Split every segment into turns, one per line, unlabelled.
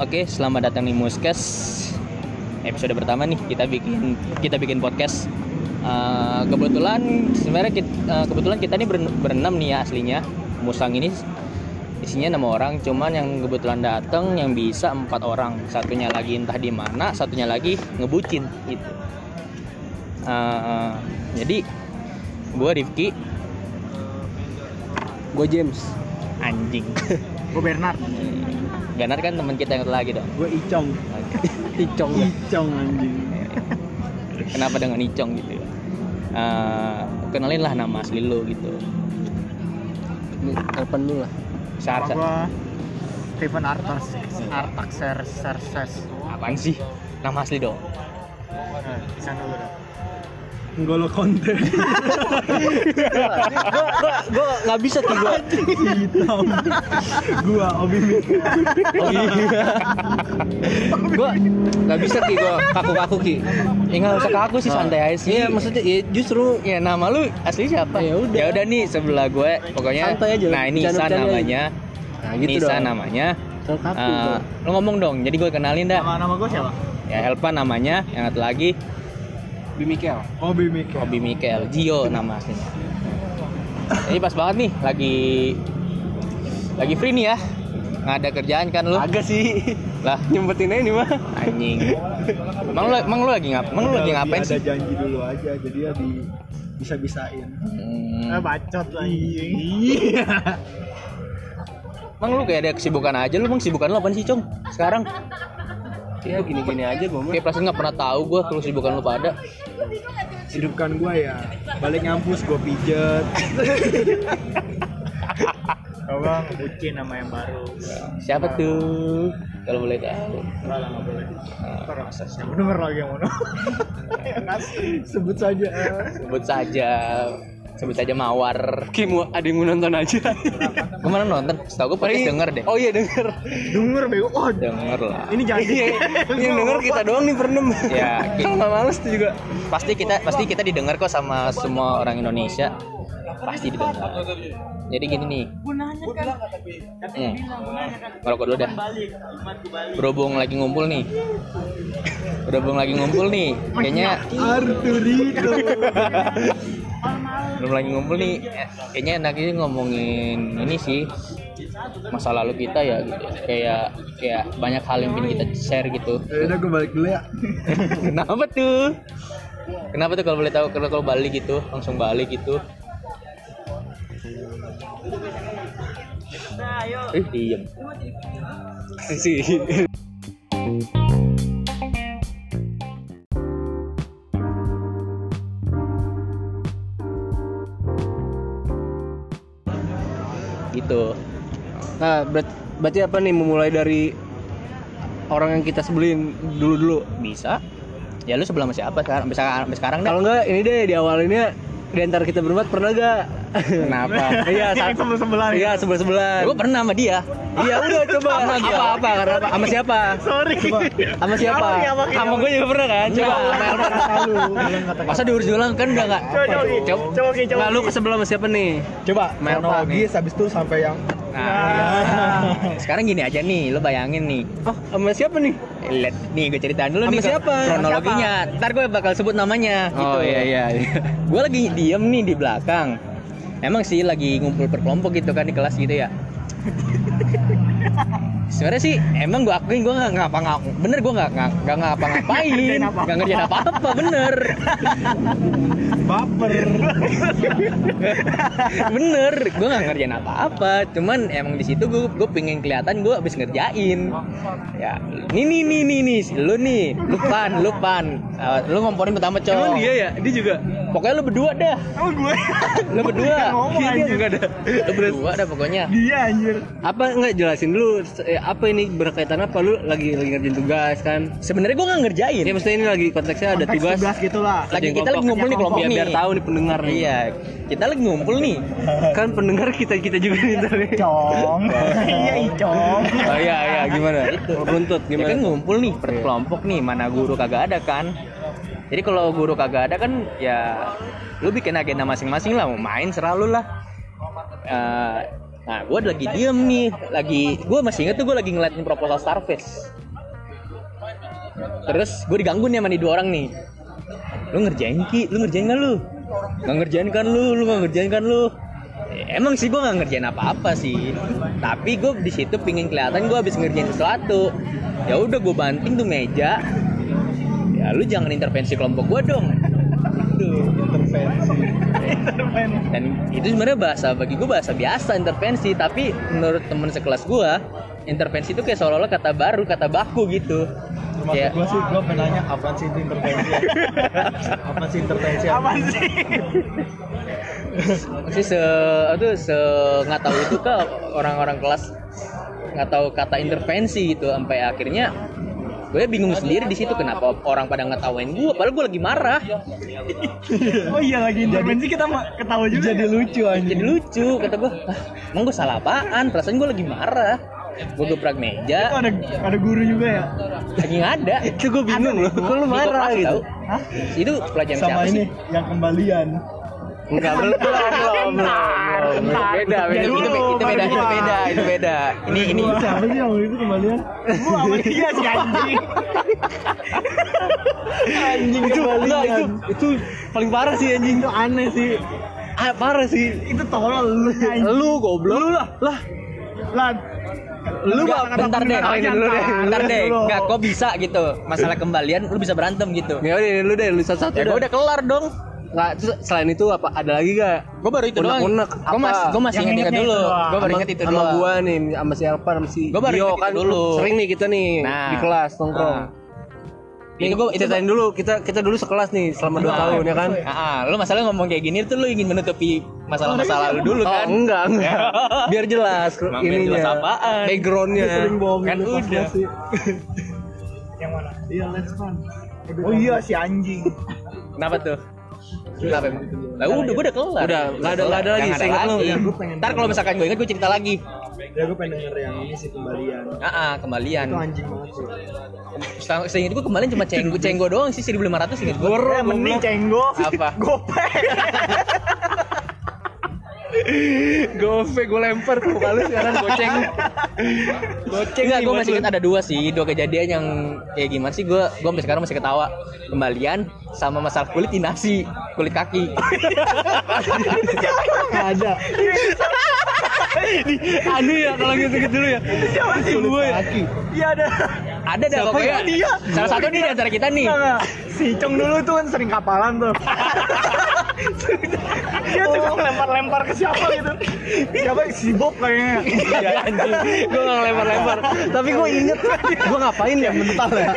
Oke, selamat datang di Muskes. Episode pertama nih kita bikin kita bikin podcast. Eh, kebetulan sebenarnya kita, kebetulan kita ini beren- berenam nih ya aslinya. Musang ini isinya enam orang, cuman yang kebetulan datang yang bisa empat orang. Satunya lagi entah di mana, satunya lagi ngebucin gitu. Eh, jadi gue Rifki,
Gue James.
anjing.
Gue Bernard.
Benar kan teman kita yang satu lagi dong.
Gue Icong.
Ticong.
Icong anjing.
kenapa dengan Icong gitu ya. Eh, kenalin lah nama asli lo gitu
Ini Telepon dulu lah.
Sar Sar-
Gue Steven Artars Artak Ser Serses.
apaan sih nama asli dong
Bisa dulu dah.
Nggolo konten
gue nggak bisa tuh gue
hitam Gua Obi Mika
gue Oh, iya. nggak bisa ki gue kaku kaku ki ya nggak usah kaku sih santai aja sih
Iya maksudnya ya justru
ya nama lu asli siapa
Ya udah.
ya udah nih sebelah gue pokoknya
Santai aja,
nah ini Isa
bercanda-bercanda aja.
namanya
nah gitu
Nisa
dong.
namanya
Terlalu kaku
Eh,
dong.
lo ngomong dong jadi gue kenalin dah
Nama nama gue siapa?
ya Helpa namanya yang satu lagi
Bimikel.
Obi
ya?
Mika.
Bobby Mikel, Gio nama aslinya. Ini pas banget nih, lagi lagi free nih ya. Nggak ada kerjaan kan lu?
Agak sih
Lah,
nyempetin aja nih mah.
anjing. Emang lu, emang lu lagi ngap? Emang lu lagi ngapain
Ada
sih?
janji dulu aja, jadi ya di bisa-bisain.
Hmm,
Eh bacot lagi.
Iya.
Emang lu kayak ada kesibukan aja lu, emang kesibukan lu apaan sih, Cong? Sekarang
Ya gini-gini aja gue mah.
kayak perasaan nggak pernah tahu gua kalau kesibukan lu pada.
Hidupkan gua ya, balik ngampus gua pijet.
Coba ngebucin nama yang baru.
Siapa tuh? Kalau boleh tahu.
Enggak lah nggak boleh.
Nah,
Terasa siapa denger lagi yang mana? Yang asli.
Sebut saja.
sebut saja sebut saja mawar.
Oke mau ada yang mau nonton aja.
Kemarin nonton, setahu gua podcast denger deh.
Oh iya denger.
Denger bego. Oh,
Denger lah.
ini jangan.
Iya. yang denger kita doang nih berenam.
Ya,
Kalau nggak males tuh juga.
pasti kita pasti kita didengar kok sama semua orang Indonesia pasti didengar jadi gini nih hmm. merokok dulu dah berhubung lagi ngumpul nih berhubung lagi ngumpul nih kayaknya
Arturito.
belum lagi ngumpul nih eh, kayaknya enaknya ngomongin ini sih masa lalu kita ya gitu kayak kayak banyak hal yang ingin kita share gitu
Ya udah gua balik dulu ya.
Kenapa tuh? Kenapa tuh kalau boleh tahu kalau kalau balik gitu, langsung balik gitu. Eh, diem.
Sih.
Gitu.
Nah ber- berarti apa nih memulai dari orang yang kita sebelin dulu-dulu.
Bisa. Ya lu sebelum siapa sekarang? Bisa sampai sekarang dah.
Kalau nggak ini deh di awalinnya di antara kita berempat pernah gak?
Kenapa?
Iya,
Yang
satu
sebelah-sebelah nih.
Iya, sebelah-sebelah.
Gue pernah sama dia.
Iya udah coba
Sama dia.
apa-apa karena apa sama siapa?
Sorry.
Sama siapa?
Apa, apa,
Sama gue juga pernah kan? Coba.
Lalu,
Masa diurus-ulang kan udah enggak.
Coba coba coba coba coba.
Lalu ke sebelah sama siapa nih?
coba
Melpa
kronologis habis itu sampai yang
Nah, sekarang gini aja nih, lu bayangin nih.
Oh, sama siapa nih?
Lihat nih gue ceritain dulu
Sama
nih
siapa?
kronologinya. Ntar gue bakal sebut namanya gitu.
iya
gue lagi diem nih di belakang emang sih lagi ngumpul berkelompok gitu kan di kelas gitu ya sebenarnya sih emang gue akuin gue nggak ngapa ngapa bener gue nggak nggak nggak ngapa ngapain nggak ngerjain apa apa bener
baper.
bener gue nggak ngerjain apa apa cuman emang di situ gue gue pengen kelihatan gue abis ngerjain ya nih nih nih nih nih lu nih lupan lupan Eh, lu ngomporin pertama
Emang
cowok
dia ya? Dia juga.
pokoknya lu berdua dah
Emang gue
lu berdua
ngomong
Iya, dia
anjir.
enggak ada.
lu berdua dah pokoknya
Dia anjir.
Apa enggak jelasin dulu eh, apa ini berkaitan apa lu lagi lagi ngerjain tugas kan?
sebenarnya gue nggak ngerjain
Ya maksudnya ini lagi konteksnya ada
Konteks
tugas.
tugas gitu lah.
lagi
Kerjaan
kita lagi
kelompok. ya,
ngumpul nih kelompok
Biar,
nih
biar tahu nih pendengar nih.
iya kita lagi ngumpul nih
Kan pendengar kita kita juga nih tadi.
Icong. Iya Icong.
Oh iya iya gimana? Itu runtut
ya kan
gimana?
ngumpul nih per kelompok nih mana guru kagak ada kan jadi kalau guru kagak ada kan ya lu bikin agenda masing-masing lah mau main serah lu lah Eh, Nah, gue lagi diem nih, lagi gue masih inget tuh gue lagi ngeliatin proposal Starface. Terus gue diganggu nih sama nih dua orang nih. Lu ngerjain ki, lu ngerjain kan lu? Nggak ngerjain kan lu, lu nggak ngerjain kan lu? Ya, Emang sih gue nggak ngerjain apa-apa sih, tapi gue di situ pingin kelihatan gue habis ngerjain sesuatu. Ya udah gue banting tuh meja. Ya lu jangan intervensi kelompok gue dong. Tuh. Dan itu sebenarnya bahasa bagi gue bahasa biasa intervensi, tapi menurut temen sekelas gue intervensi itu kayak seolah-olah kata baru, kata baku gitu.
Termasuk
Kayak-
gue sih, gue pengen nanya apa sih itu intervensi? apa sih intervensi? Apa sih?
Maksudnya se itu se nggak tahu itu ke orang-orang kelas nggak tahu kata intervensi gitu sampai akhirnya gue bingung sendiri di situ kenapa orang pada ngetawain gue padahal gue lagi marah
Oh iya lagi intervensi kita ma- ketawa juga. ya? Jadi lucu aja.
jadi lucu kata gue "Hah, emang gue salah apaan perasaan gue lagi marah gue gebrak meja
Ada ada guru juga ya.
lagi nggak ada
itu gue bingung loh kok
Di
lu marah
kelas
gitu
tau. itu pelajaran
Sama
siapa
ini
sih
yang kembalian.
enggak belum belum belum belum. beda beda itu, be- itu beda itu beda itu beda ini ini
siapa sih yang waktu itu kembalian?
Gua sama dia si anjing.
anjing itu enggak itu itu paling parah sih anjing
Itu aneh sih.
ah, parah sih
Itu tolol lu anjing.
lu goblok lu lah lah
Lan.
lu
Nggak,
mah
bentar deh,
ini dulu deh
bentar deh,
Lu-
nggak kok bisa gitu masalah kembalian lu bisa berantem gitu
ya udah lu deh lu satu satu
ya gue udah kelar dong
nggak terus selain itu apa ada lagi gak
gue baru itu doang
Unek-unek,
gue mas
apa?
gue masih
Yang
inget inget
ingetnya
dulu
itu doang.
gue baru
Sama-
inget itu
sama
doang
gua nih sama si Elvan sama si
Gua baru
Dio
inget itu
kan
dulu.
sering nih kita nih
Nah.
di kelas nongkrong
Nah.
Nih,
Itu gua- itu
ceritain dulu kita kita dulu sekelas nih selama 2
Nah.
tahun ya kan
Ah, lu masalah ngomong kayak gini tuh lu ingin menutupi masalah-masalah lu dulu
Oh,
kan?
enggak, enggak. Biar jelas
Emang biar
ininya.
jelas apaan?
Backgroundnya.
Sering bohongin
Kan
lu pas
udah.
kelas sih.
Yang mana?
Iya, let's fun.
Oh iya si anjing.
Kenapa tuh? Kenapa emang? Lah udah, gue udah kelar.
Udah, nggak ada- nggak ada lagi,
Nggak
seingat lu.
lagi. Iya,
Ya,
gua pengen-
Ntar kalau misalkan gue inget gue cerita lagi.
Ya gue pengen denger yang ini sih kembalian.
Ah, ah, kembalian.
Itu anjing banget sih.
Setelah- Seinget gue kembalian cuma cenggo cenggo doang sih 1500 inget gue.
Eh, mending cenggo.
Apa?
Gopek.
Gope gue lempar tuh kalau sekarang goceng.
Goceng Enggak, gue masih ingat ada dua sih, dua kejadian yang kayak gimana sih gue gue sampai sekarang masih ketawa. Kembalian sama masalah kulit di nasi, kulit kaki.
Ada.
Aduh ya kalau gitu-gitu dulu ya.
Siapa sih gue?
Kaki.
Iya ada.
Ada dah pokoknya.
yang dia?
Salah satu nih di antara kita nih.
Nggak, nggak. Si Cong dulu tuh kan sering kapalan tuh. Dia suka
Oh.
lempar-lempar ke siapa gitu. Siapa si Bob kayaknya.
gue gak lempar-lempar tapi gue inget gue ngapain ya mental ya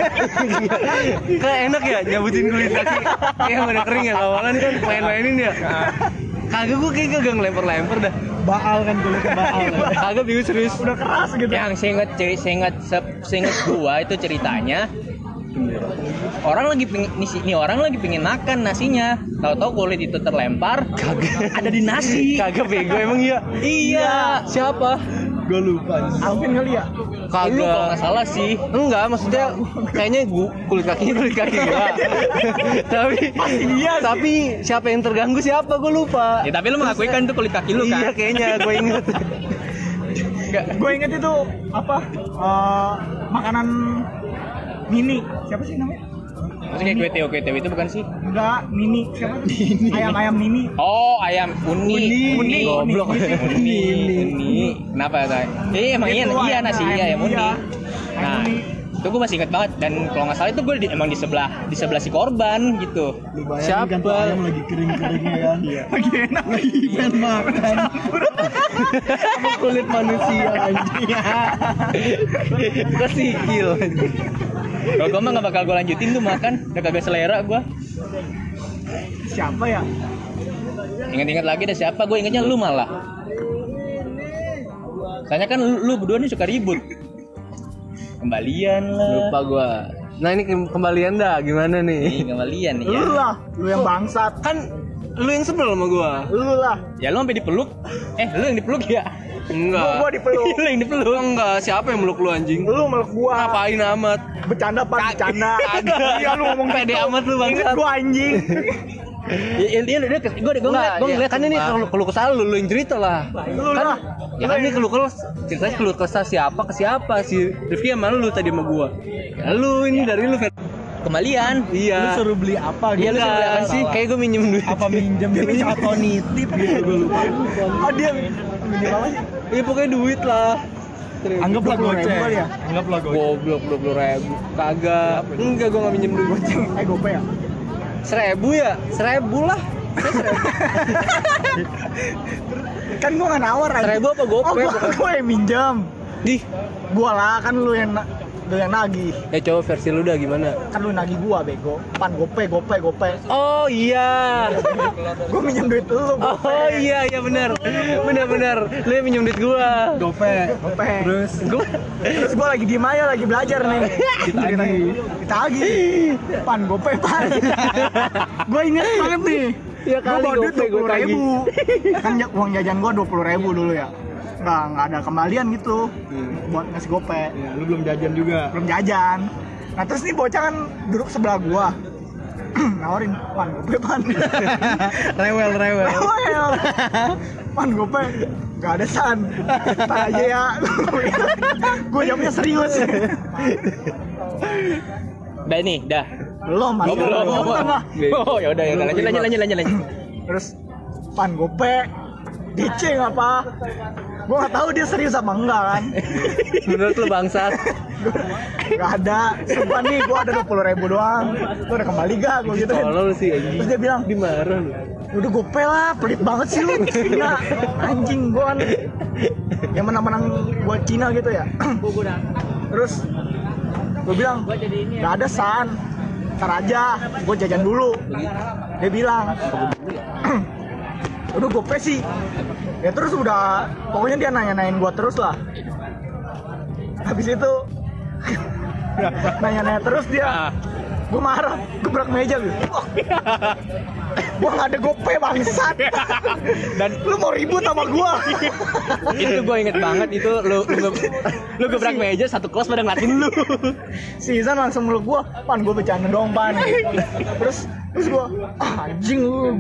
kayak enak ya nyabutin kulit kaki kayak mana kering ya awalan kan main-mainin ya kagak gue kayak gak ngelempar-lempar dah
Baal kan dulu ke baal.
kagak bingung serius
Udah keras gitu.
Yang seinget ceri- seinget se- seinget gua itu ceritanya orang lagi pengen nih, si- nih orang lagi pengen makan nasinya tahu-tahu kulit itu terlempar ada di nasi
kagak bego emang iya
iya siapa
Iya.
Gue lupa.
Alvin kali ya?
lu kalau nggak
kagak
salah sih
enggak maksudnya kayaknya gue kulit kakinya kulit kaki gua tapi
iya sih.
tapi siapa yang terganggu siapa gue lupa
ya tapi lu mengakui kan itu kulit kaki lu
iya
kan
kayaknya gue inget
Gue inget itu apa? eh, makanan mini. Siapa sih namanya?
maksudnya kayak kue kue itu bukan sih
Enggak, mini. Siapa tuh? Ayam-ayam mini.
Oh, ayam uni.
Uni.
Goblok.
Uni.
Uni. Uni. Kenapa, Tay? Eh, emang
Itu
iya, iya
ayam-
nasi
ayam
iya ayam
uni.
uni.
Ayam
Nah,
uni.
itu gue masih inget banget dan kalau nggak salah itu gue di, emang di sebelah di sebelah si korban gitu.
Lu bayangin
Siapa?
kan tuh ayam lagi kering-keringnya
ya.
kan. Iya.
Lagi enak.
Lagi pengen makan. Sama kulit manusia anjing.
gue sikil
Kalau gue mah nggak bakal gue lanjutin tuh makan, udah kagak selera gue.
Siapa ya?
Ingat-ingat lagi deh siapa? Gue ingetnya lu malah. Soalnya kan lu, lu berdua nih suka ribut. Kembalian lah.
lupa gue nah ini ke- kembalian dah gimana nih
Nih, kembalian nih ya.
Lu lah, lu yang bangsat.
kan lu yang sebel sama gue
Lu lah.
Ya lu sampai dipeluk. Eh, lu yang dipeluk ya?
enggak Iya,
Gua dipeluk.
lu yang dipeluk.
lu enggak siapa yang meluk lu anjing
Lu meluk gua.
ngapain amat
bercanda pan bercanda
Kagak.
iya lu ngomong
Pede amat lu, bangsat.
Ingat gua anjing
Ya, Intinya lu dia gue gue ngeliat gue
iya,
ngeliat kan
ya,
ini kalau keluh kesal lu lu yang cerita lah. Kan ya kan ini keluh kesah ceritanya keluh kesah siapa ke siapa si Rifki sama lu tadi sama gua. Ya, lu ini dari lu Fer.
Kembalian.
Iya.
Lu suruh beli apa gitu?
Iya lu sebelah apa sih? Kayak gue minjem duit.
apa minjem duit atau nitip gitu gue lupa.
Ah,
Oh dia minjem apa sih?
Iya pokoknya duit lah.
Anggaplah
20.000
goceng.
kali ya?
Anggaplah goceng.
Goblok dua puluh ribu. Kagak. Enggak gue nggak minjem duit.
Eh gope ya?
Seribu ya? Seribu lah.
Kan gua nggak nawar anjing.
Seribu apa
Oh
gopay?
gua, gua yang minjam
Dih.
Gua lah kan lu yang na- lu yang nagih
Ya coba versi lu dah gimana?
Kan lu nagih gua bego Pan gope gope gope
Oh iya.
Gua minjem duit lu gope
Oh iya iya benar. Benar benar. Lu yang minjem duit gua.
Gope.
Gope.
Terus
Gua
Terus gua lagi di Maya lagi belajar nih
ditagih.
Ditagih Pan gope pan Gua inget banget nih
Iya
Ya
Gua
kali,
bawa duit
gope,
dua
gua
puluh ribu Kan ja- uang jajan gua dua puluh ribu dulu ya Nggak, nggak ada kembalian gitu Buat ngasih gope
Ya, Hmm. lu belum jajan juga.
belum jajan nah terus nih bocah kan duduk sebelah gua nawarin pan gope pan
rewel rewel.
Rewel. pan gope gak ada san Ntar aja ya gue jawabnya serius
Udah nih, dah.
belum masih
Oh, belum.
belum tengah.
Oh, ya udah ya udah. lanjut lanjut lanjut lanjut lanjut.
terus pan gope diceng apa gue gak tahu dia serius apa enggak kan
menurut lu bangsat.
gak ada sumpah nih gue ada 20 ribu doang lu udah kembali gak gue gitu
Tolol sih
terus
anjing.
dia bilang
Dimarah lu.
Udah gope lah, pelit banget sih lu Cina Anjing gue kan Yang menang-menang buat Cina gitu ya Terus Gue bilang, gak ada San Ntar aja, gue jajan dulu Dia bilang Udah gope sih Ya terus udah Pokoknya dia nanya-nanyain gue terus lah Habis itu Nanya-nanya terus dia Gue marah, gebrak meja gitu gua nggak ada gope bangsat dan lu mau ribut sama gua
Itu gua inget banget itu lu lu, ge- lu gebrak meja satu kelas pada ngeliatin lu.
si Izan langsung meluk gua pan gua bercanda dong pan terus terus gua ah, anjing lu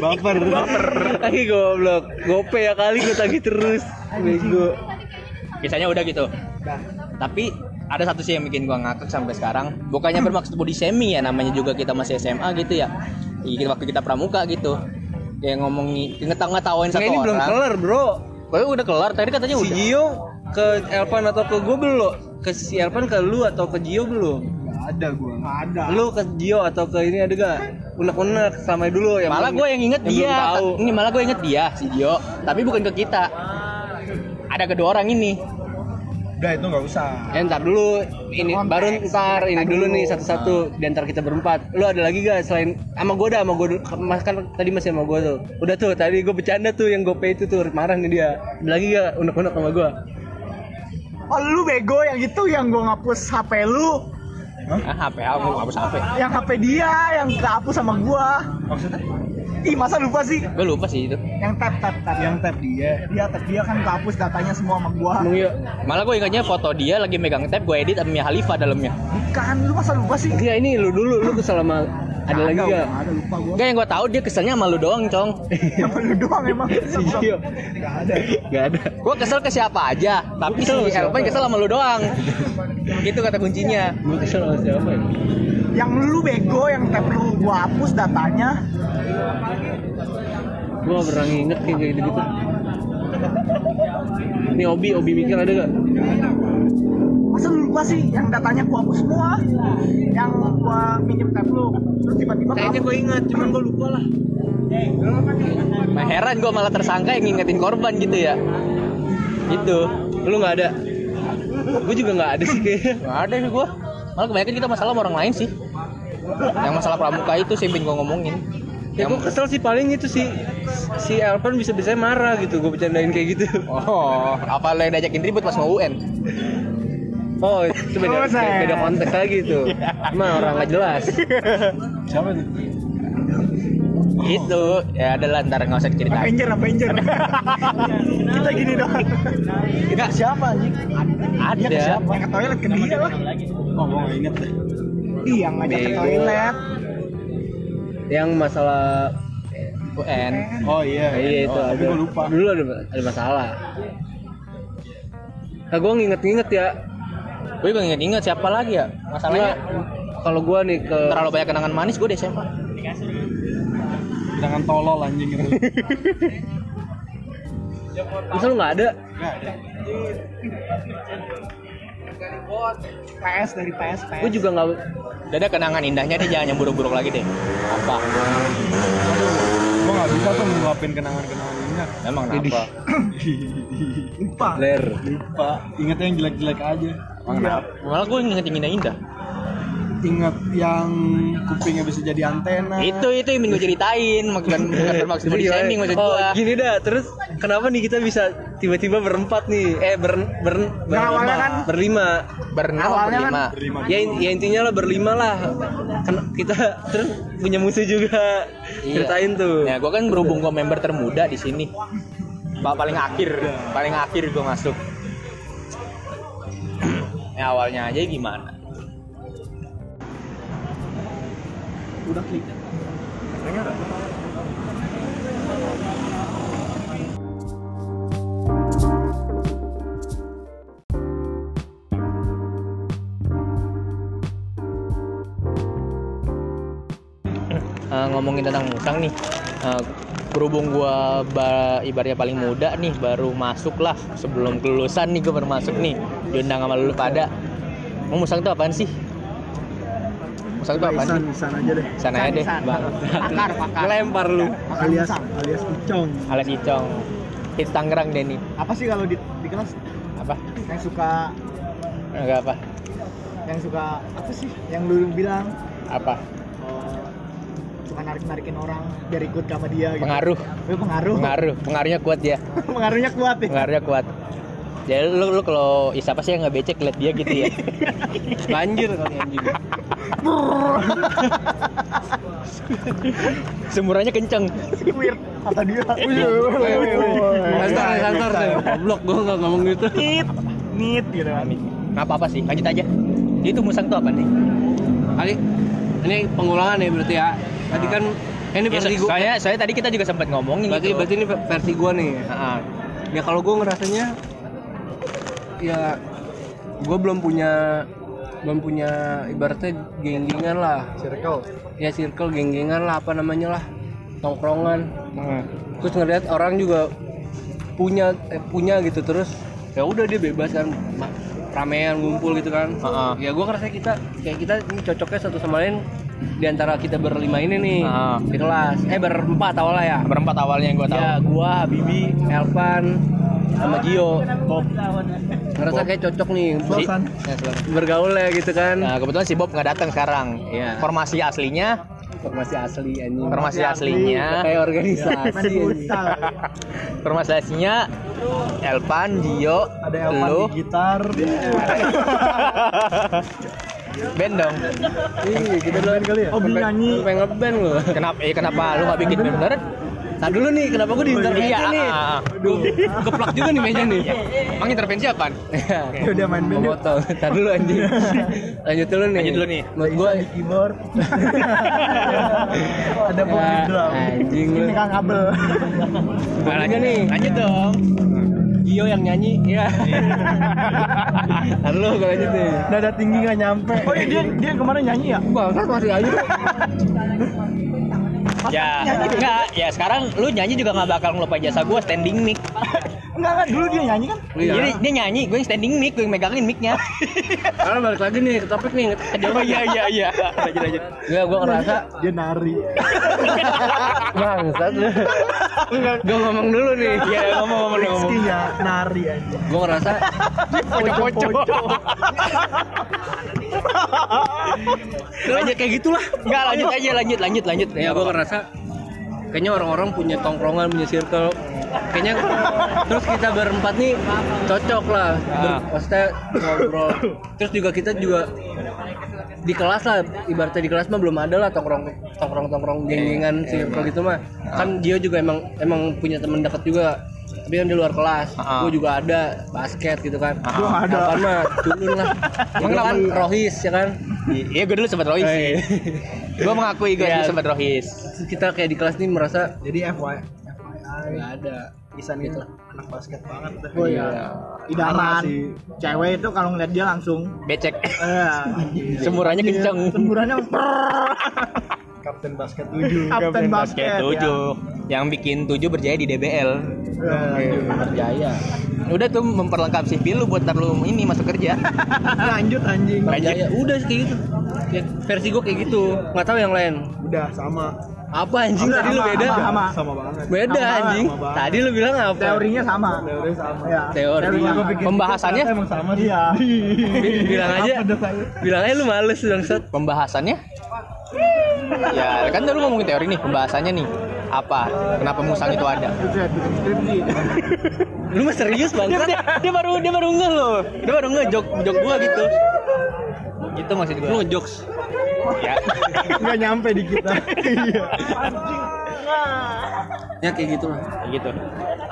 Baper.
Lagi goblok. Gope ya kali gua tagih terus. Bego.
Biasanya udah gitu. Tapi ada satu sih yang bikin gua ngakak sampai sekarang. Bukannya bermaksud body shaming ya namanya juga kita masih SMA gitu ya. Iya, waktu kita pramuka gitu. Kayak ngomongin ngetang-ngetawain
Nah,
satu
ini belum
orang.
kelar, Bro.
Pokoknya udah kelar, tadi katanya
Si
udah.
Gio ke Elvan atau ke gua belum? Ke si Elvan ke lu atau ke Gio belum?
Gak ada gua. Gak ada.
Lu ke Gio atau ke ini ada gak? Unek-unek sama dulu ya.
malah gue yang inget
yang
dia
belum tahu.
ini malah gue inget dia si Gio tapi bukan ke kita ada kedua orang ini
Udah itu nggak usah.
Eh, ntar dulu ini
Konteks.
baru ntar ini dulu nih satu-satu dan ntar kita berempat. Lu ada lagi gak selain sama gue dah sama gue mas kan tadi masih sama gue tuh. Udah tuh tadi gue bercanda tuh yang gope itu tuh marah nih dia. Ada lagi gak unek-unek sama gue?
oh lu bego yang itu yang gua ngapus HP lu
ah HP aku hapus HP
yang HP dia yang kehapus sama gua
Maksudnya?
ih masa lupa sih
gue lupa sih itu
yang tap tap tap
Yang tap dia.
dia tap dia kan kehapus datanya semua sama gua
Emang yuk.
malah gue ingatnya foto dia lagi megang tab gue edit Mia Khalifa dalamnya
bukan lu masa lupa sih
Iya ini lu dulu lu kesel sama ada lagi
Kagak, udah
gak?
nggak ada lupa gua
Enggak yang gue tahu dia keselnya sama lu doang cong
Sama lu doang emang Iya.
Gio.
Gak ada.
Gak ada.
gue kesel ke siapa aja tapi si
Kesel sama
Elvan
siapa?
kesel sama lu doang gitu kata kuncinya
Gue kesel sama siapa ya?
yang lu bego yang tap lu gua hapus datanya
Gue gak pernah nginget kayak gitu-gitu. Ini Obi, Obi mikir ada gak?
masa lu lupa sih yang datanya gua hapus semua yang gua minjem tab lu terus tiba-tiba
Kayaknya
kamu
gue ingat, cuman gue lupa lah.
nah, heran gue malah tersangka yang ngingetin korban gitu ya
Itu, lu nggak ada. Gue juga nggak ada sih kayaknya.
Gak ada sih gue Malah kebanyakan kita masalah sama orang lain sih Yang masalah pramuka itu sih yang gue ngomongin Yang-
Ya gue kesel sih paling itu sih si Elvan bisa bisa marah gitu gue bercandain kayak gitu.
Oh, apa lo yang diajakin ribut pas mau UN?
Oh itu beda
Buset.
beda konteks lagi tuh. Emang orang nggak jelas.
Siapa tuh?
Itu ya adalah ntar nggak usah cerita.
Avenger Avenger kita gini doang kita siapa anjing Dia ke
Ada.
siapa yang ke toilet ke dia lah
Oh, gue nggak inget deh.
dia yang ngajak ke
Bego.
toilet
yang masalah UN
Oh iya.
Nah, iya itu
Oh,
ada.
Tapi gue lupa.
Dulu ada, ada masalah. Nah, gue nginget-nginget ya.
Gue juga inget-inget siapa lagi ya
Nggak,
masalahnya.
kalau gue nih ke
Terlalu banyak kenangan manis gue di SMA.
Jangan tolol anjing itu.
misal lu nggak ada,
Nggak ada.
PS dari PS PS
gue juga nggak
Dada kenangan indahnya deh jangan yang buruk-buruk lagi deh. Apa?
Gue nggak bisa tuh ngeluapin kenangan-kenangan ingat.
Emang
Jadi-
kenapa?
lupa
ler.
Lupa. Ingatnya yang jelek-jelek aja.
Iya.
Emang kenapa? Malah gue inget yang indah-indah.
Ingat yang kupingnya bisa jadi antena.
Itu itu yang gue ceritain, bukan bukan bermaksud body shaming maksud
oh,
gue.
gini dah. Terus kenapa nih kita bisa tiba-tiba berempat nih? Eh ber ber, ber
Nah, awalnya kan-
berlima.
Bernama
Awalnya kan-
berlima.
Berlima
Ya, in- ya intinya lah berlima lah. Ken- kita terus punya musuh juga.
Iya.
Ceritain tuh.
Ya gue kan berhubung gue member termuda di sini. Pak paling akhir, paling akhir gue masuk. ya awalnya aja gimana?
udah klik.
Eh, ngomongin tentang musang nih. Eh, berhubung gue ibaratnya paling muda nih, baru masuk lah sebelum kelulusan nih gue baru masuk nih. Diundang sama lulu pada. Emang musang itu apaan sih? Musang itu apaan sih?
Isan, Isan aja deh
Sana aja deh, bang.
pakar pakar
Lempar lu.
Pakar
alias
musang.
alias pocong
Alas Icong. Hits Tangerang deh nih.
apa sih kalau di, di kelas
Apa?
yang suka
Enggak apa?
yang suka apa sih yang lu bilang
Apa?
eh, suka narik narikin orang biar ikut sama dia gitu
Pengaruh.
Lu pengaruh
Pengaruh. Pengaruhnya kuat ya.
pengaruhnya kuat ya
Pengaruhnya kuat. Jadi lu, lu kalau Isa pasti yang nggak becek liat dia gitu ya.
Banjir kali anjing.
Semburannya kenceng.
weird kata dia
Santar,
Iya,
santar deh. Goblok gua enggak ngomong gitu.
nit nit gitu kan
Nggak apa-apa sih. Lanjut aja. Itu musang tuh apa nih?
Kali ini pengulangan ya berarti ya. Tadi kan eh, ini
Ya, so-
versi gua.
soalnya, soalnya tadi kita juga sempat ngomongin
Berarti
gitu.
berarti ini versi gua nih.
Ah, ah.
Ya kalau gua ngerasanya ya gua belum punya belum punya ibaratnya geng-gengan lah.
Circle.
Ya circle geng-gengan lah apa namanya lah. Tongkrongan. Terus ngeliat orang juga punya eh, punya gitu terus ya udah dia bebas kan ma- ramean ngumpul gitu kan
Ah, ah.
ya gue ngerasa kita kayak kita ini cocoknya satu sama lain di antara kita berlima ini nih
Ah.
di kelas eh berempat awalnya ya
Berempat awalnya yang gue tahu.
ya gua Bibi Elvan sama Gio
Bob.
ngerasa kayak cocok nih
Si-
bergaul bergaulnya gitu kan
Nah, kebetulan si Bob nggak datang sekarang.
Iya.
Formasi aslinya,
formasi asli anjing
formasi aslinya,
kayak organisasi
masih
anjing.
futsal
formasi aslinya Elvan, Gio,
Ada Elvan
lu, Iya.
di gitar.
band dong.
Ih, kita dulu kali
Oh,
ya
Hobi nyanyi.
pengen ngeband loh
Kenapa? Eh kenapa lu nggak bikin band beneran?
Nah dulu nih, kenapa gue diinter meja
Iya.
nih?
ah, ah.
Gue keplak juga nih meja nih.
Emang intervensi apaan?
Iya.
ya udah main band yuk.
Memotong. Tar dulu anjing. Lanjut dulu nih.
Lanjut dulu nih.
Menurut gue
keyboard
Ya.
ada bom di drum
anjing lu.
kan-
ini kang kabel
Nah, lanjut nih.
Lanjut dong.
Gio yang nyanyi. Iya. Tar dulu gue lanjut nih.
Dada tinggi nggak nyampe.
oh iya dia dia yang kemarin nyanyi ya
Bangsat masih aja.
Ya, enggak. Ya sekarang lu nyanyi juga nggak bakal ngelupain jasa gua standing mic.
enggak enggak dulu dia nyanyi kan
Jadi
Iya.
dia nyanyi, gue yang standing mic, gue yang megangin micnya.
Karena balik lagi nih ke topik nih. Ke jawaban.
oh iya iya iya. Lanjut lanjut.
Iya, gue ngerasa
dia nari
bangsat lu. Gue ngomong dulu nih.
Iya ngomong ngomong ngomong.
Rizky ya nari aja
Gue ngerasa
Pocong pocong.
lanjut kayak gitulah.
Enggak lanjut aja lanjut lanjut lanjut.
ya gue ngerasa kayaknya orang-orang punya tongkrongan punya circle kayaknya terus kita berempat nih cocok lah
Ah.
Ber- maksudnya ngobrol terus juga kita juga di kelas lah ibaratnya di kelas mah belum ada lah tongkrong tongkrong tongkrong
Iya,
geng-gengan circle gitu
Ah.
mah kan Gio juga emang emang punya temen deket juga tapi kan di luar kelas
Ah.
gue juga ada basket gitu kan
Ah.
Gua ada.
Apaan mah culun lah
Emang
Dulu kan
kenapa?
Rohis ya kan
Iya,
Iya gue dulu sempat Rohis sih. gue mengakui gue
Oh, Iya.
dulu sempat Rohis.
Terus kita kayak di kelas nih merasa
Jadi FYI, FYI nggak ada. Isan
gitu.
itu anak basket banget dah.
Oh iya. Idaman.
Masih-
Cewek itu kalau ngeliat dia langsung
becek
eh
Iya.
semburannya kenceng
semburannya
Kapten basket 7.
Kapten
iya.
basket
basket. ya.
tujuh yang bikin tujuh berjaya di DBL
Eh,
Berjaya.
udah tuh memperlengkap CV lu buat ntar lu ini masuk kerja
Lanjut anjing.
Berjaya. Udah sih kayak gitu. Ya, versi gue kayak gitu. Nggak tahu yang lain.
Udah sama.
Apa anjing tadi lu beda?
Sama, sama.
Sama banget.
Beda
Sama,
anjing.
sama banget.
Tadi lu bilang apa?
Teorinya sama.
Teori sama.
Ya.
Teori.
sama.
pembahasannya
Emang sama sih.
Iya.
Bi- bilang aja. Bilang aja lu males bangsat.
pembahasannya ya kan tadi lu ngomongin teori nih pembahasannya nih apa kenapa musang itu ada
Itu ya, bikin skripsi.
Lu mah serius
dia,
bangsat.
dia, dia baru dia baru ngeh loh dia baru ngeh jok jok gua gitu itu Gitu maksud gua
Lu jokes.
ya
Enggak nyampe di kita. Iya.
Ya kayak gitu lah.
gitu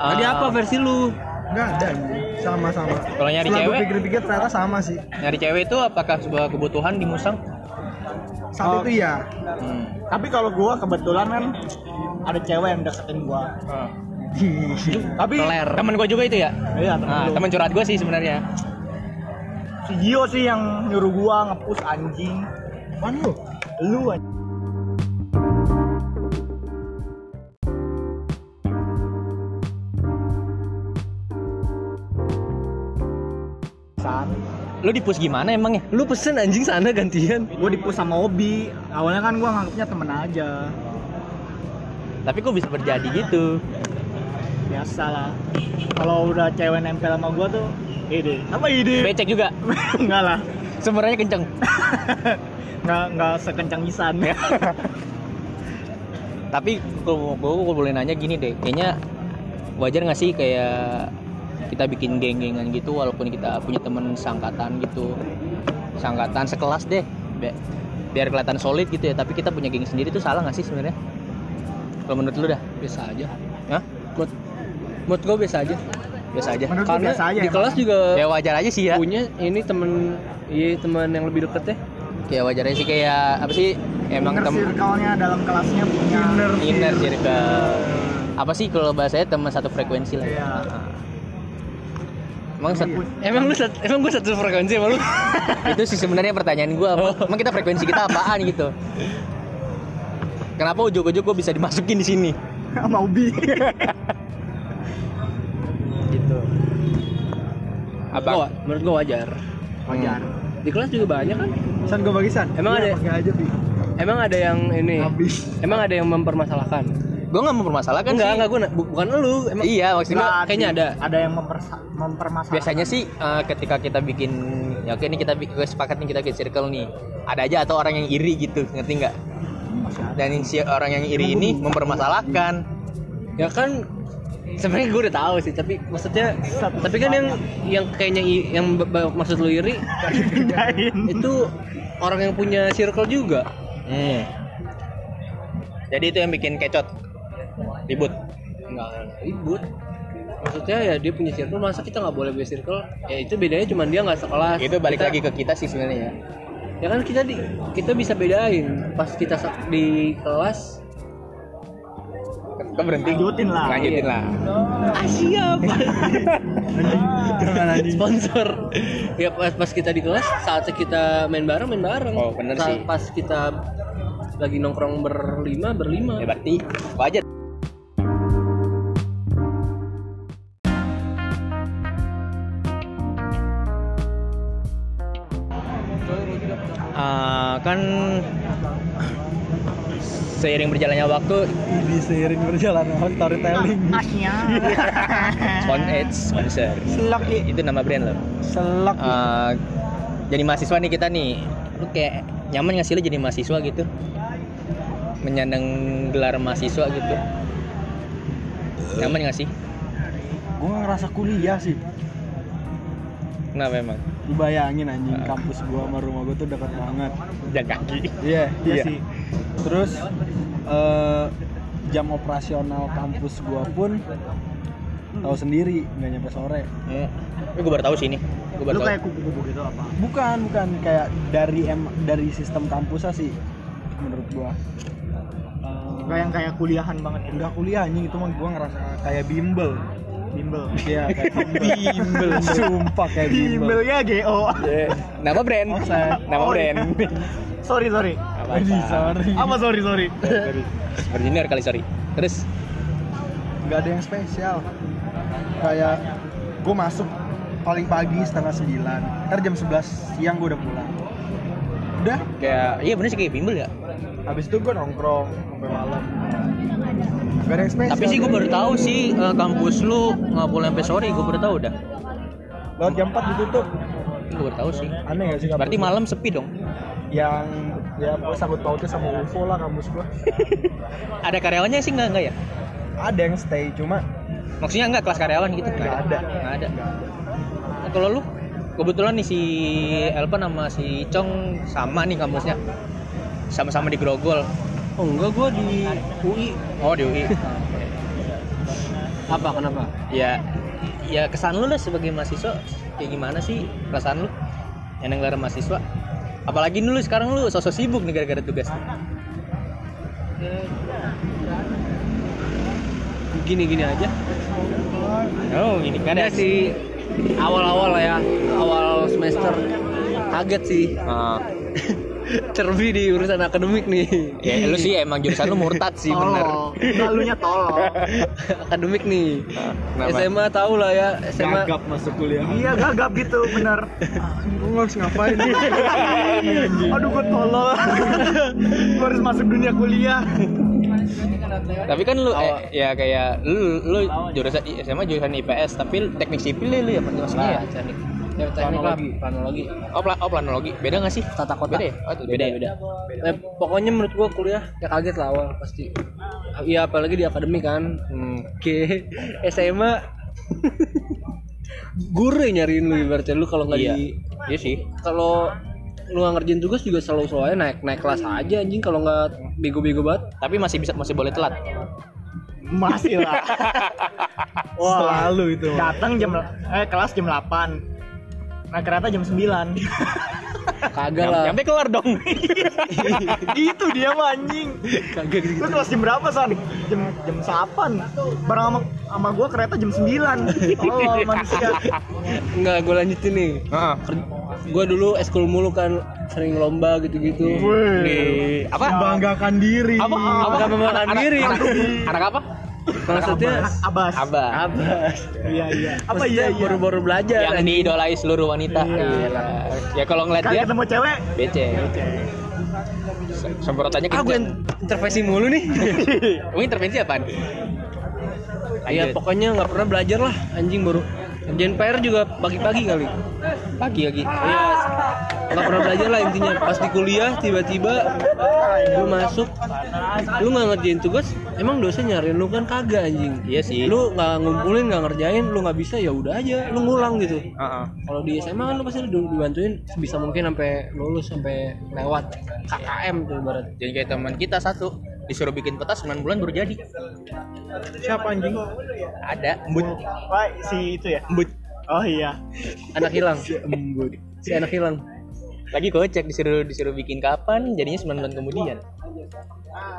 Tadi
Ah,
apa versi lu?
Enggak ada. anjing. Sama-sama.
Kalau nyari
Setelah
cewek?
gua pikir-pikir ternyata sama sih.
nyari cewek itu apakah sebuah kebutuhan di musang
Saat
Oh.
itu ya.
hmm.
Tapi kalau gua kebetulan kan ada cewek yang deketin gua. Tapi
Teler. temen gua juga itu ya
Iya, temen
nah,
lu.
temen curhat gua sih sebenarnya
si Gio sih yang nyuruh gua ngepus anjing.
Apaan lu?
Lu anjing.
lu dipus gimana emang ya
Lu pesen anjing sana gantian.
Gue dipus sama Obi. Awalnya kan gua nganggapnya temen aja.
tapi kok bisa terjadi gitu
Biasa lah. Kalau udah cewek nempel sama gua tuh, ide. Apa ide?
becek juga
Enggak lah.
sumbernya kenceng
Enggak enggak sekencang isan.
tapi kalau gue boleh nanya gini deh kayaknya wajar nggak sih kayak kita bikin geng-gengan gitu walaupun kita punya temen sangkatan gitu sangkatan sekelas deh Bi- biar kelihatan solid gitu ya tapi kita punya geng sendiri tuh salah nggak sih sebenarnya kalau menurut lu dah
Biasa aja.
Hah?
Mood mood gua biasa aja.
biasa aja
Menurut lu
Karena
biasa aja
di
emang.
kelas juga
ya wajar aja sih ya
punya ini temen iya temen yang lebih deket ya
kayak wajar aja sih kayak apa sih emang
Inner
temen
circle-nya dalam kelasnya punya.
inner circle apa sih kalau bahasanya teman satu frekuensi lah ya
Iya.
emang satu
emang lu sat- emang gue satu frekuensi sama lu Oh.
itu sih sebenarnya pertanyaan gue emang kita frekuensi kita apaan gitu kenapa ujuk-ujuk gue bisa dimasukin di sini
Sama Obi.
gitu
Gua-
apa Hmm.
menurut gue wajar
Wajar.
di kelas juga banyak kan
San gua bagi San.
Emang
Iya,
ada?
Pakai aja Bi.
emang ada yang ini
Habis.
emang ada yang mempermasalahkan
gue nggak mempermasalahkan
enggak
sih
enggak gue bukan lu emang
iya maksud gue
Enggak,
kayaknya ada.
Ada yang mempersa- mempermasalahkan.
biasanya sih eh, ketika kita bikin ya oke ini kita bikin sepakat nih kita bikin circle nih ada aja atau orang yang iri gitu ngerti nggak dan si orang yang iri ini mempermasalahkan
ya kan sebenarnya gue udah tahu sih tapi maksudnya tapi kan yang yang kayaknya i- yang b- b- maksud lu iri itu orang yang punya circle juga
Hmm. jadi itu yang bikin kecot ribut
nggak ribut maksudnya ya dia punya circle masa kita nggak boleh punya circle ya itu bedanya cuma dia nggak sekelas
itu balik
Kita-
lagi ke kita sih sebenarnya ya.
ya kan kita di kita bisa bedain pas kita se- di kelas
Kita berhenti.
Lanjutin lah.
Lanjutin lah. Iya.
ah siapa sponsor ya pas pas kita di kelas saat kita main bareng main bareng
Oh, bener sih.
Saat- pas kita lagi nongkrong berlima berlima
Ya berarti wajar. Ah, kan seiring berjalannya waktu
Di seiring berjalannya storytelling.
Asnya.
spon eh, sponsor
Selok Ki.
itu nama brand loh
Selok.
Ah, jadi mahasiswa nih kita nih lu kayak nyaman gak sih lu jadi mahasiswa gitu menyandang gelar mahasiswa gitu nyaman gak sih
Gua ngerasa kuliah sih.
kenapa emang
Lu bayangin anjing kampus gua sama rumah gua tuh dekat banget.
jaga kaki
Iya, iya
Iya.
sih. Terus eh, jam operasional kampus gua pun tahu sendiri nggak nyampe sore.
hmm. gue baru tahu sih ini gue baru
Lu
tahu
kayak kupu-kupu gitu apa?
Bukan, bukan kayak dari em dari sistem kampusnya sih menurut gua. Eh,
nggak yang kayak kuliahan banget gitu
udah kuliah anjing itu mah gua ngerasa kayak bimbel
bimbel
iya kayak bimbel sumpah kayak bimbel
bimbelnya GO
Nama brand.
Offside.
Nama
Oh,
brand.
sorry sorry
Aduh, sorry
apa sorry sorry
Berjunior kali sorry. Terus
nggak ada yang spesial kayak gue masuk paling pagi setengah sembilan ntar jam 11 siang gue udah pulang udah
kayak iya bener sih kayak bimbel ya.
habis itu gue nongkrong sampai malam gak ada yang spesial
Tapi sih gue baru tahu sih eh, kampus lu nggak boleh sampai sore, gue baru tahu dah.
laut jam 4 ditutup
Gue baru tahu sih.
aneh gak sih
Iya,
kampus?
Berarti malam sepi dong.
yang ya gue sangkut pautnya sama UFO lah kampus gue
Ada karyawannya sih nggak nggak ya?
ada yang stay cuma
Maksudnya nggak kelas karyawan gitu?
nggak ada
Nggak ada. Nah, Kalau lu kebetulan nih si Elpan sama si Cong sama nih kampusnya. Sama-sama di Grogol.
oh enggak gue di UI
Oh di UI.
apa kenapa
ya ya kesan lu lah sebagai mahasiswa kayak gimana sih perasaan lu yang ngelar mahasiswa apalagi dulu sekarang lu sosok sibuk nih gara-gara tugas
gini gini aja
oh ini kan
ada sih awal-awal lah ya awal semester kaget sih
Ah,
cerbi di urusan akademik nih
ya lu sih emang jurusan lu murtad sih iya, bener
tolol lalunya tolol
akademik nih
kenapa?
SMA tahu lah ya SMA
gagap masuk kuliah
iya gagap gitu bener
gue harus ngapain nih
aduh gue tolol gue harus masuk dunia kuliah
tapi kan lu eh, ya kayak lu lu jurusan SMA jurusan IPS tapi teknik sipil lu ya maksudnya ya teknik
ya, teknik lah planologi
oh, pla- oh planologi beda nggak sih
tata kota
beda ya? Oh, itu beda,
beda
ya?
beda. Eh, pokoknya menurut gua kuliah ya kaget lah awal pasti ya apalagi di akademik kan
Hmm.
Oke, SMA guru yang nyariin lu ibaratnya lu kalau nggak
iya
di
iya sih
kalau lu nggak ngerjain tugas juga selalu selalu aja naik naik kelas aja anjing kalau nggak bego-bego banget
tapi masih bisa masih boleh telat
masih lah Wah,
selalu itu
datang jam eh kelas jam 8 nah kereta jam 9
kagak
Nyam-
lah
nyampe keluar dong
itu dia mah, anjing
kagak gitu
lu kelas jam berapa san jam jam 8 bareng sama sama gua kereta jam 9 tolol manusia
nggak gue lanjutin nih
Heeh.
gue dulu eskul mulu kan sering lomba gitu-gitu
Di- apa
banggakan diri
apa apa
Nggak memakan
Anak-
diri.
anak, anak apa
maksudnya
abas
abah
abas
iya iya apa
Maksudnya
iya iya
baru-baru belajar
yang
anjing.
diidolai seluruh wanita Gila. ya kalau ngeliat
kan
Iya.
dia
ketemu cewek
bece Se- semprotannya
ah gue
kenceng
intervensi mulu nih
ini intervensi apaan
ya
Lanjut.
pokoknya nggak pernah belajar lah anjing baru kerjaan PR juga pagi-pagi kali
pagi lagi
Iya, nggak pernah belajar lah intinya. Pas di kuliah tiba-tiba lu masuk, lu nggak ngerjain tugas, emang dosen nyariin lu kan kagak anjing.
iya sih
Lu nggak ngumpulin, nggak ngerjain, lu nggak bisa ya udah aja, lu ngulang gitu. Kalau di SMA kan lu pasti di- dibantuin sebisa mungkin sampai lulus sampai lewat KKM tuh ibarat.
jadi kayak teman kita satu disuruh bikin peta 9 bulan baru jadi
siapa anjing
ada embut
Wah, si itu ya
embut
oh iya
Anak hilang,
Iya, embut
si anak hilang.
lagi kocak disuruh disuruh bikin kapan jadinya 9 bulan kemudian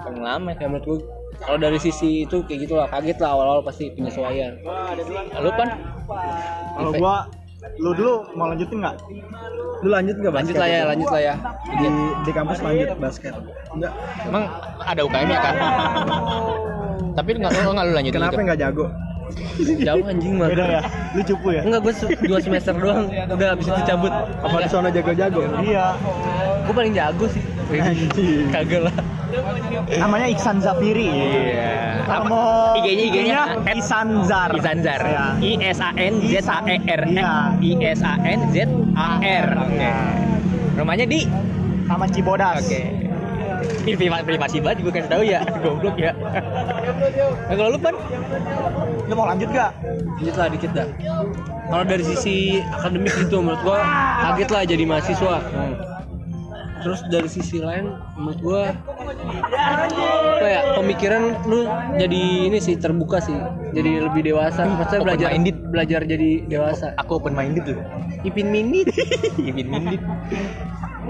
pengalaman
Ya menurut gua kalau dari sisi itu kayak gitu lah, kaget lah awal-awal pasti penyesuaian.
ya? lu pan
kalau gua lu dulu mau lanjutin nggak
lu lanjut nggak
Lanjut
basket
lah ya,
itu?
lanjut lah ya.
di, di kampus lanjut basket enggak
emang ada UKM nya kan tapi nggak nggak lu lanjutin
kenapa
itu?
nggak jago
Jauh anjing mah.
beda ya lu cupu ya
Enggak, gue dua semester doang. Udah habis itu cabut.
apa di sana jago-jago
iya
Gue paling jago sih.
anjing
Kagak lah.
namanya Iksan Zafiri
Iya.
Kamu
IG-nya IG-nya
Iksan Zar.
Izanzar.
Iya.
I S A N Z A E R.
Iya.
I S A N Z A E R. Oke. Rumahnya di
Sama Cibodas.
Oke. Ini prima- privasi banget gue kasih tahu ya. Goblok ya. Nah, kalau lu pan
Lu mau lanjut gak?
Lanjut lah dikit dah. Kalau dari sisi akademik gitu menurut gua kaget lah jadi mahasiswa. Terus dari sisi lain menurut gua apa ya pemikiran lu jadi ini sih terbuka sih. Jadi lebih dewasa. Maksudnya
Open
belajar
minded.
belajar jadi dewasa.
aku open minded tuh.
Ipin minit.
Ipin minded.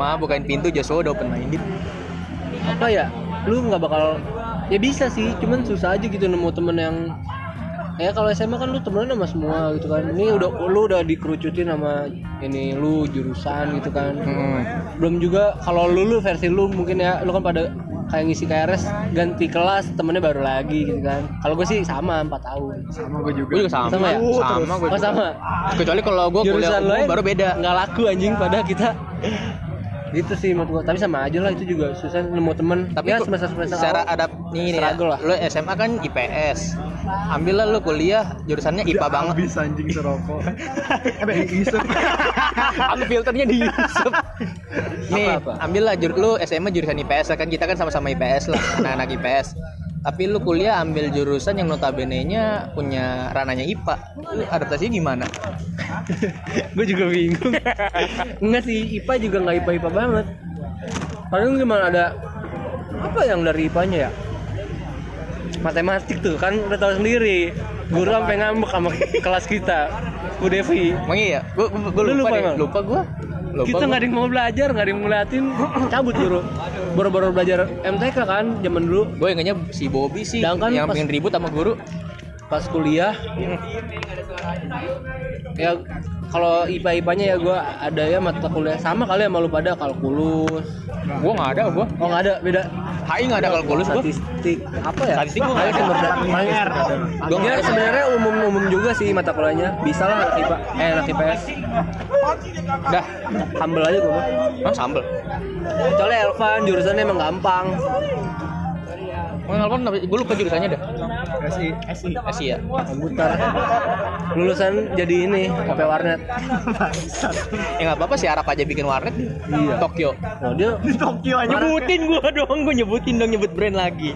Ma bukain pintu Joshua udah open minded.
apa ya? Lu nggak bakal ya bisa sih cuman susah aja gitu nemu temen yang ya kalau SMA kan lu temenan sama semua gitu kan ini udah lu udah dikerucutin sama ini lu jurusan gitu kan belum juga kalau lu lu versi lu mungkin ya lu kan pada kayak ngisi KRS ganti kelas temennya baru lagi gitu kan kalau gue sih sama 4 tahun
sama gue juga
Gue juga sama.
Sama ya?
Sama gue.
oh sama
Kecuali kalau gue kuliah
jurusan lu
umum
aja
baru beda.
nggak laku anjing pada kita gitu sih menurut gue tapi sama aja lah itu juga susah nemu temen
Tapi
ya
ku-
semester semester
secara
awal
ada nih ya,
struggle lah.
lu SMA kan IPS. Ambillah lu kuliah jurusannya IPA banget.
habis anjing serokok eh isep
Ambil filternya di Yusuf. Nih,
Apa-apa?
ambillah jur lu SMA jurusan IPS lah kan kita kan sama-sama IPS lah, anak-anak IPS. Tapi lu kuliah ambil jurusan yang notabene-nya punya rananya IPA. Lu adaptasinya gimana?
gue juga bingung enggak sih IPA juga nggak IPA IPA banget paling gimana ada apa yang dari IPA-nya ya matematik tuh kan udah tahu sendiri guru sampai ngambek sama kelas kita Bu Devi
Emang iya? Gua gua, gua
Lu
lupa,
lupa
deh.
emang?
lupa gua. Lupa
kita
gua.
nggak ada yang mau belajar nggak ada yang ngeliatin cabut guru baru-baru belajar MTK kan zaman dulu
Gue ingatnya si Bobby sih
Sedangkan
yang
pas-
pengen ribut sama guru.
pas kuliah ya kalau IPA IPA-nya ya gue ada ya mata kuliah sama kali sama lu pada kalkulus
Gua nggak ada gua.
oh nggak ada beda
Hai nggak ada kalkulus gua.
statistik apa ya
Statistik gua nggak ada.
sumber daya Manger.
Gua nggak
Ya,
ada.
sebenarnya umum umum juga sih mata kuliahnya bisa lah anak IPA eh anak IPS
Dah,
humble aja gue mah
emang sambel.
kecuali Elvan jurusannya emang gampang
Mau nelpon tapi gue lupa jurusannya dah.
SI
SI ya.
komputer lulusan jadi ini HP warnet
Ya nggak apa-apa sih Arab aja bikin warnet.
Iya.
Tokyo.
oh dia
di Tokyo
Ah,
aja bu
Nyebutin gua dong, gua nyebutin dong nyebut brand lagi.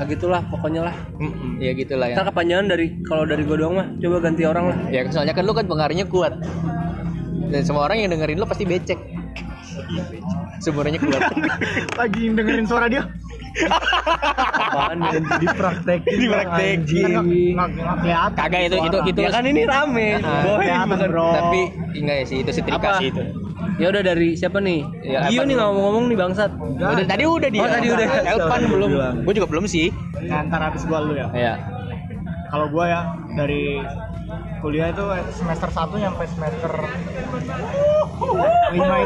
ya gitulah pokoknya lah
Mm-mm, ya gitulah ya.
ntar kepanjangan dari kalau dari gue doang mah coba ganti orang lah
Ya soalnya kan lu kan pengaruhnya kuat. Dan semua orang yang dengerin lu pasti becek. Sebenarnya kuat.
lagi dengerin suara dia
apaan ya
dipraktekin
Kan nggak-
dipraktekin
nggak nggak kelihatan
Kagak itu itu itu.
ya kan ini rame
Ah,
boy
ya,
kelihatan,
bukan
bro.
Tapi enggak ya sih itu
apa
setrika sih itu.
ya udah dari siapa nih
Ya,
Gio
apa
nih
dulu?
ngomong-ngomong nih bangsat
Udah tadi udah dia.
Oh, tadi udah.
Elpan belum. Gue juga belum sih.
nah, ntar habis gua lu ya
Iya.
kalau gua ya dari kuliah itu eh, semester 1 sampai semester 5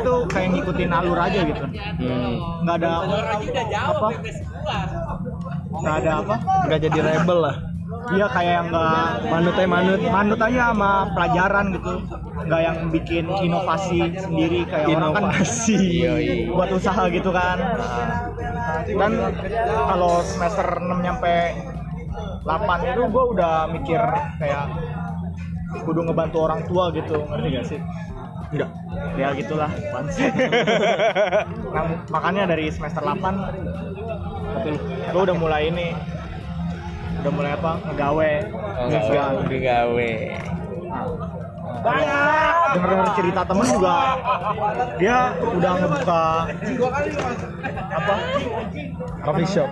itu kayak ngikutin alur aja gitu
Hmm.
nggak ada apa nggak ada apa
nggak jadi rebel lah
dia Iya, kayak yang nggak
manut aja manut
manut aja sama pelajaran gitu nggak yang bikin inovasi sendiri kayak orang kan
inovasi
buat usaha gitu kan dan kalau semester 6 nyampe 8 itu gue udah mikir kayak kudu ngebantu orang tua gitu ngerti gak sih
enggak
ya gitulah apaan sih. nah, makanya dari semester 8 gue udah mulai ini udah mulai apa ngegawe
Oh,
Ngegawe.
gawe.
denger denger cerita temen juga dia udah ngebuka apa
coffee shop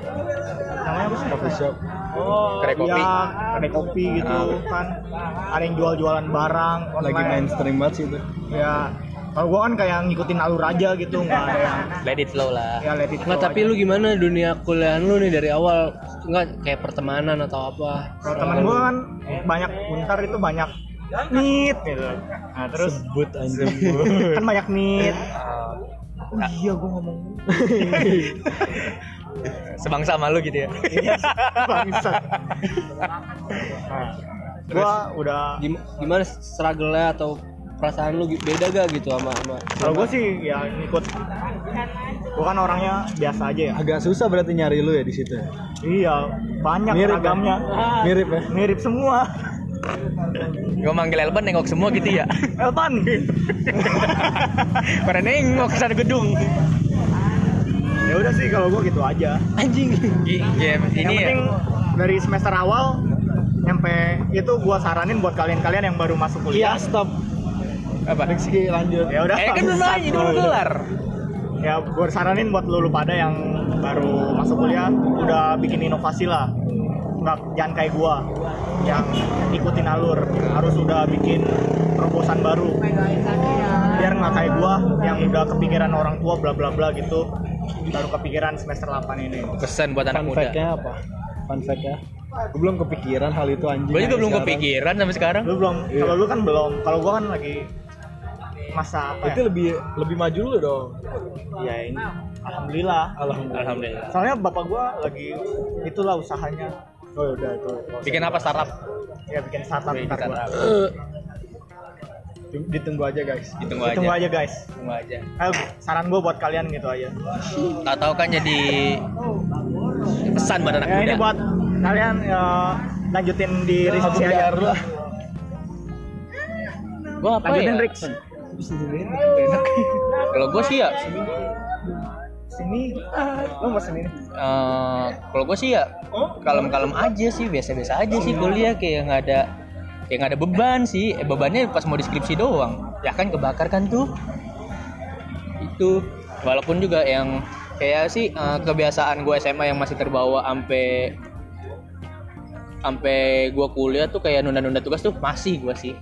namanya apa sih
coffee shop
Oh.
Kedai kopi.
Iya, kedai kopi gitu kan ada yang jual-jualan barang
Ah. lagi
online.
mainstream banget sih itu
ya kalau gua kan kayak ngikutin alur aja gitu nggak ada yang
Let it flow lah.
ya let it
nggak
flow
tapi
aja.
lu gimana dunia kuliahan lu nih dari awal nggak kayak pertemanan atau apa
Kalau temen gua kan banyak untar itu banyak nit gitu nah terus
sebut anjing
kan banyak nit oh iya gua ngomong
Sebangsa sama lu gitu ya.
bangsat nah, gua udah
Gim- gimana struggle-nya atau perasaan lu gi- beda gak gitu sama sama
kalau gua sih ya ngikut gua kan orangnya biasa aja ya
agak susah berarti nyari lu ya di situ ya?
iya banyak
Mirip ya?
ragamnya
mirip ya
mirip semua
Gua manggil Elban nengok semua gitu ya.
Elvan
Pada nengok ke sana gedung.
ya udah sih kalau gua gitu aja
Anjing. Game
yang
ini ya.
penting dari semester awal nyampe itu gua saranin buat kalian-kalian yang baru masuk kuliah
Iya, stop
Apa?
Rizky lanjut
ya udah
Eh kan belum nanya dulu dolar.
ya gua saranin buat lu, lu pada yang baru masuk kuliah udah bikin inovasi lah nggak jangan kayak gua yang ikutin alur harus udah bikin terobosan baru biar nggak kayak gua yang udah kepikiran orang tua bla bla bla gitu baru kepikiran semester 8 ini
pesan buat anak
Fun
muda
fact-nya apa? Fun fact-nya?
ya.
Gue belum kepikiran hal itu anjing.
gue juga
Sampai
belum
sekarang.
kepikiran sampai sekarang
lu belum
Iya.
kalau lu kan belum kalau gua kan lagi masa apa
Itu
ya
lebih lebih maju dulu dong.
ya ini alhamdulillah
Alhamdulillah.
alhamdulillah
soalnya bapak gua lagi itulah usahanya
Oh ya udah itu.
bikin apa startup
ya bikin startup
Bikin
ntar
startup.
gua.
Ditunggu aja guys.
ditunggu aja
ditunggu aja guys
Tunggu aja
Eh, saran gua buat kalian gitu aja
tak tahu kan jadi pesan buat anak
ya ini
muda
buat kalian ya, lanjutin di Rizky aja
Biar lah.
Gua apa
lanjutin
ya?
Rix
kalau gue sih ya
sini lu mau sini
eh, kalau gue sih ya kalem-kalem aja sih biasa-biasa aja sih kuliah kayak nggak ada kayak nggak ada beban sih eh, bebannya pas mau deskripsi doang ya kan kebakar kan tuh itu walaupun juga yang kayak sih eh, kebiasaan gue SMA yang masih terbawa ampe ampe gue kuliah tuh kayak nunda-nunda tugas tuh masih gue sih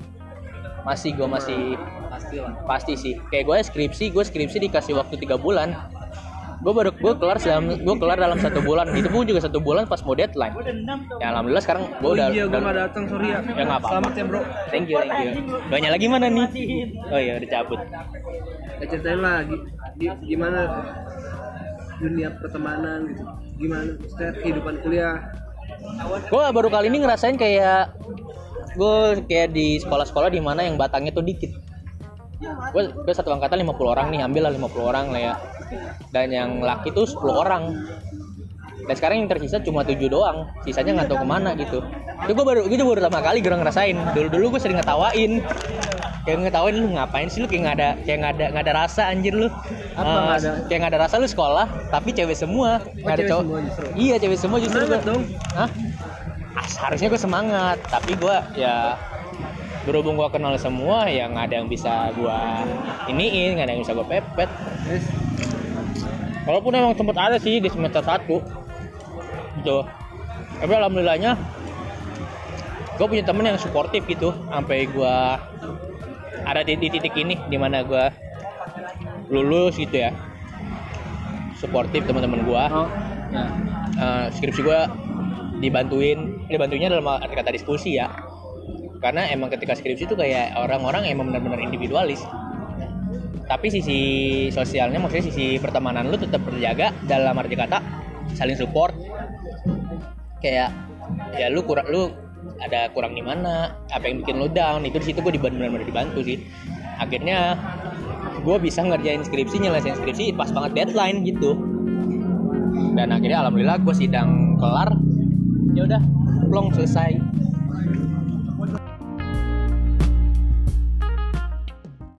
masih gue masih pasti pasti sih kayak gue skripsi gue skripsi dikasih waktu tiga bulan gue baru gue kelar dalam gue kelar dalam satu bulan itu pun juga satu bulan pas mau deadline ya alhamdulillah sekarang gue udah
iya, gue
udah-
nggak datang sorry ya.
Ya, nggak apa-apa.
Selamat ya bro.
thank you thank you doanya lagi mana nih oh iya udah cabut
Ya, ceritain lah gi- gi- gimana dunia pertemanan gitu. Gimana maksudnya kehidupan kuliah.
gue baru kali ini ngerasain kayak gue kayak di sekolah-sekolah di mana yang batangnya tuh dikit gue gue satu angkatan 50 orang nih ambil lah 50 orang lah ya dan yang laki tuh 10 orang dan sekarang yang tersisa cuma 7 doang sisanya nggak tahu kemana gitu itu gue baru gue juga baru pertama kali gue ngerasain dulu dulu gue sering ngetawain kayak ngetawain lu ngapain sih lu kayak nggak ada kayak nggak ada nggak ada rasa anjir lu apa
ada? Oh,
kayak nggak ada rasa lu sekolah tapi cewek semua nggak ada
cewek
cowok
semua justru.
iya cewek semua justru
Semangat
gua-
dong.
Hah? Ah, seharusnya gue semangat, tapi gue ya berhubung gue kenal semua ya nggak ada yang bisa gue iniin, nggak ada yang bisa gue pepet. Walaupun emang sempet ada sih di semester 1 gitu. Tapi alhamdulillahnya gue punya temen yang suportif gitu, sampai gue ada di, di titik ini dimana gue lulus gitu ya. Suportif teman-teman gue. Eh, skripsi gue dibantuin eh, dibantuinnya dalam arti kata diskusi ya karena emang ketika skripsi itu kayak orang-orang emang benar-benar individualis tapi sisi sosialnya maksudnya sisi pertemanan lu tetap terjaga dalam arti kata saling support kayak ya lu kurang lu ada kurang di mana apa yang bikin lu down itu di situ gue benar-benar dibantu sih akhirnya gue bisa ngerjain skripsi nyelesain skripsi pas banget deadline gitu dan akhirnya alhamdulillah gue sidang kelar ya udah plong selesai